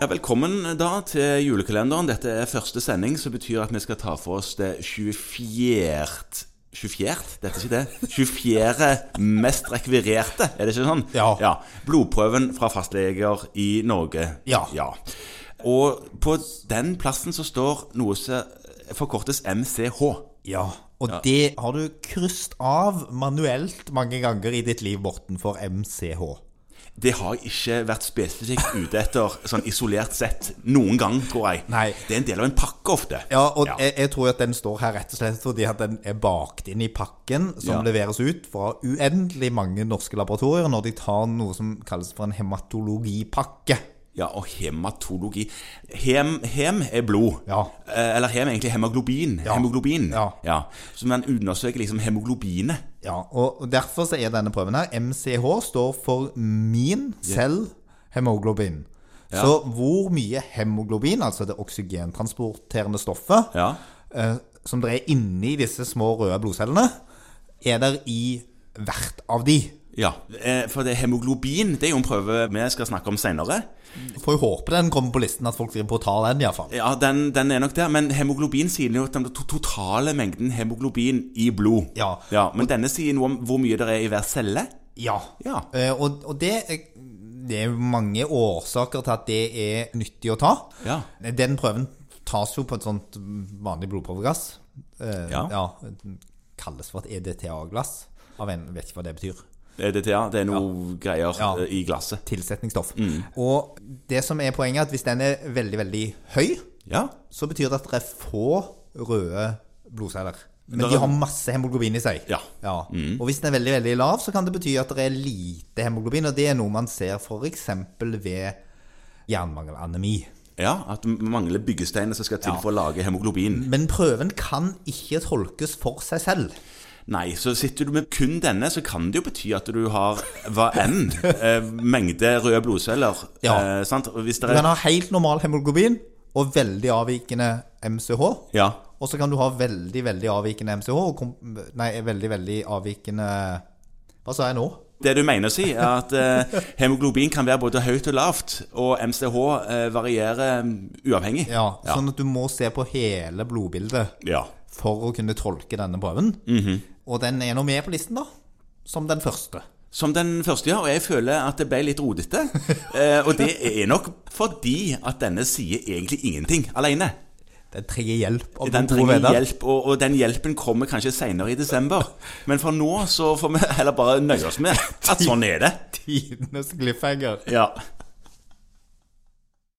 Ja, Velkommen da til julekalenderen. Dette er første sending, som betyr at vi skal ta for oss det 24. 24. Dette er ikke det. 24. mest rekvirerte, er det ikke sånn? Ja. Blodprøven fra fastleger i Norge. Ja. Og på den plassen så står noe som forkortes MCH. Ja, og det har du krysset av manuelt mange ganger i ditt liv, Morten, for MCH. Det har jeg ikke vært spesifikt ute etter sånn isolert sett noen gang, tror jeg. Nei. Det er en del av en pakke ofte. Ja, og Jeg, jeg tror at den står her rett og slett fordi at den er bakt inn i pakken som Ja. leveres ut fra uendelig mange norske laboratorier når de tar noe som kalles for en hematologipakke. Ja, og hematologi. Hem, hem er blod. Ja. Eh, Eller hem er egentlig hemoglobin. Ja. Hemoglobin. Ja. Så man undersøker liksom hemoglobinet. Ja, og og Derfor så er denne prøven her MCH står for min selv hemoglobin. Ja. Så hvor mye hemoglobin, altså det oksygentransporterende stoffet, Ja. eh, som det er inni disse små røde blodcellene, er der i hvert av de. Ja, eh, for det hemoglobin det er jo en prøve vi skal snakke om senere. Får jo håpe den kommer på listen, at folk driver på å ta den iallfall. Ja, den, den er nok der, men hemoglobin sier jo den to- totale mengden hemoglobin i blod. Ja. Men denne sier noe om hvor mye det er i hver celle. Ja. Ja. Eh, Og, og det, er- det er mange årsaker til at det er nyttig å ta. Ja. Den prøven tas jo på et sånt vanlig blodprøvegass. Eh, Ja. Kalles for et E EDTA-glass. Av en, vet ikke hva det betyr. Eh, Det, ja, det er noe greier Ja. eh, i glasset. Tilsetningsstoff. Mm. Og det som er poenget, er at hvis den er veldig, veldig høy, Ja. så betyr det at det er få røde blodceller. Men Det er- de har masse hemoglobin i seg. Ja. Mm. Og hvis den er veldig veldig lav, så kan det bety at det er lite hemoglobin. Og det er noe man ser f.eks. ved jernmangelanemi. ja. At det mangler byggesteiner som skal til for å lage hemoglobin. Men prøven kan ikke tolkes for seg selv. Nei, så sitter du med kun denne, så kan det jo bety at du har hva enn eh, mengde røde blodceller. Ja. Eh, sant? Og Hvis Du det kan er ha helt normal hemoglobin og veldig avvikende MCH. Ja. Og så kan du ha veldig veldig avvikende MCH og kom, Nei, veldig veldig avvikende Hva sa jeg nå? Det du mener å si, er at eh, hemoglobin kan være både høyt og lavt, og MCH eh, varierer mm, uavhengig. Ja, Ja. Sånn at du må se på hele blodbildet. Ja. for å kunne tolke denne prøven. Mhm. Og den er nå med på listen, da. Som den første. Som den første, ja. Og jeg føler at det ble litt rodete. Eh, og det er nok fordi at denne sier egentlig ingenting alene. Den trenger hjelp. av Den gode venner. trenger hjelp, og, og den hjelpen kommer kanskje senere i desember. Men for nå så får vi heller bare nøye oss med at sånn er det. Tidenes cliffhanger. Ja.